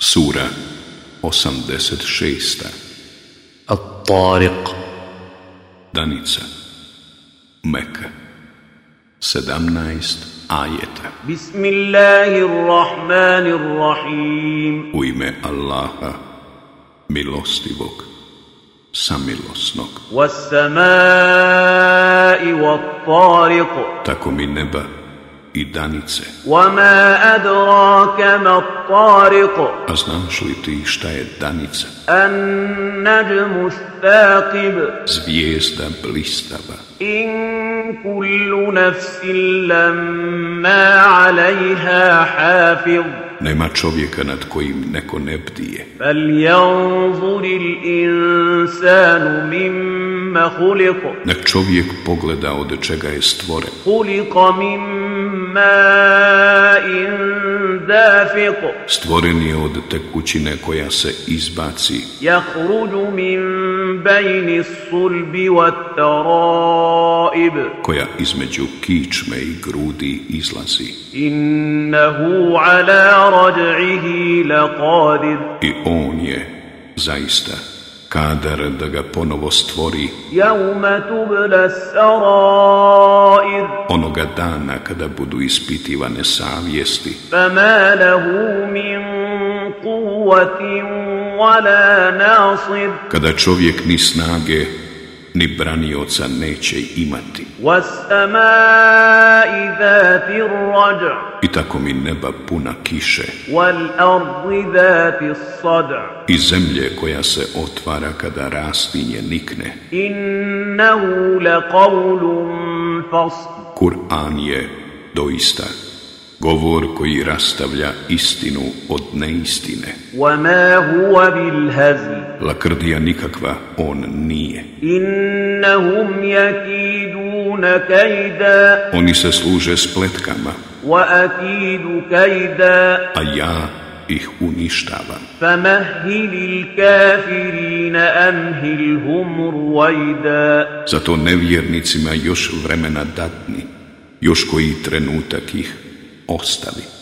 Sura 86. الطارق Danica Meka 17 ajeta بسم الله الرحمن الرحيم U ime Allaha Milostivog Samilosnog والسماء والطارق Tako mi neba i danice وما أدراك ما الطارق A znaš li ti šta je danica? النجم الثاقب Zvijezda blistava إن كل نفس لما عليها حافظ Nema čovjeka nad kojim neko ne bdije فلينظر الإنسان مما خلق Nek čovjek pogleda od čega je stvoren خلق من ماء دافق Stvoren je od tekućine koja se izbaci يخرج من بين الصلب والترائب koja između kičme i grudi izlazi إنه على رجعه لقادر i on je zaista kadar da ga ponovo stvori يوم تبلى السرائر onoga dana kada budu ispitivane savjesti فما له من قوة ولا ناصر kada čovjek ni snage ni branioca neće imati والسماء ذات الرجع i tako mi neba puna kiše والأرض ذات الصدع i zemlje koja se otvara kada rastinje nikne إنه لقول فصل Kur'an je doista govor koji rastavlja istinu od neistine وما هو بالهزل Lakrdija nikakva on nije. إنهم يكيدون كيدا Oni se služe spletkama, وأكيد كيدا a ja ih uništavam. فمهل الكافرين أمهلهم رويدا Zato nevjernicima još vremena datni, još koji trenutak ih ostavi.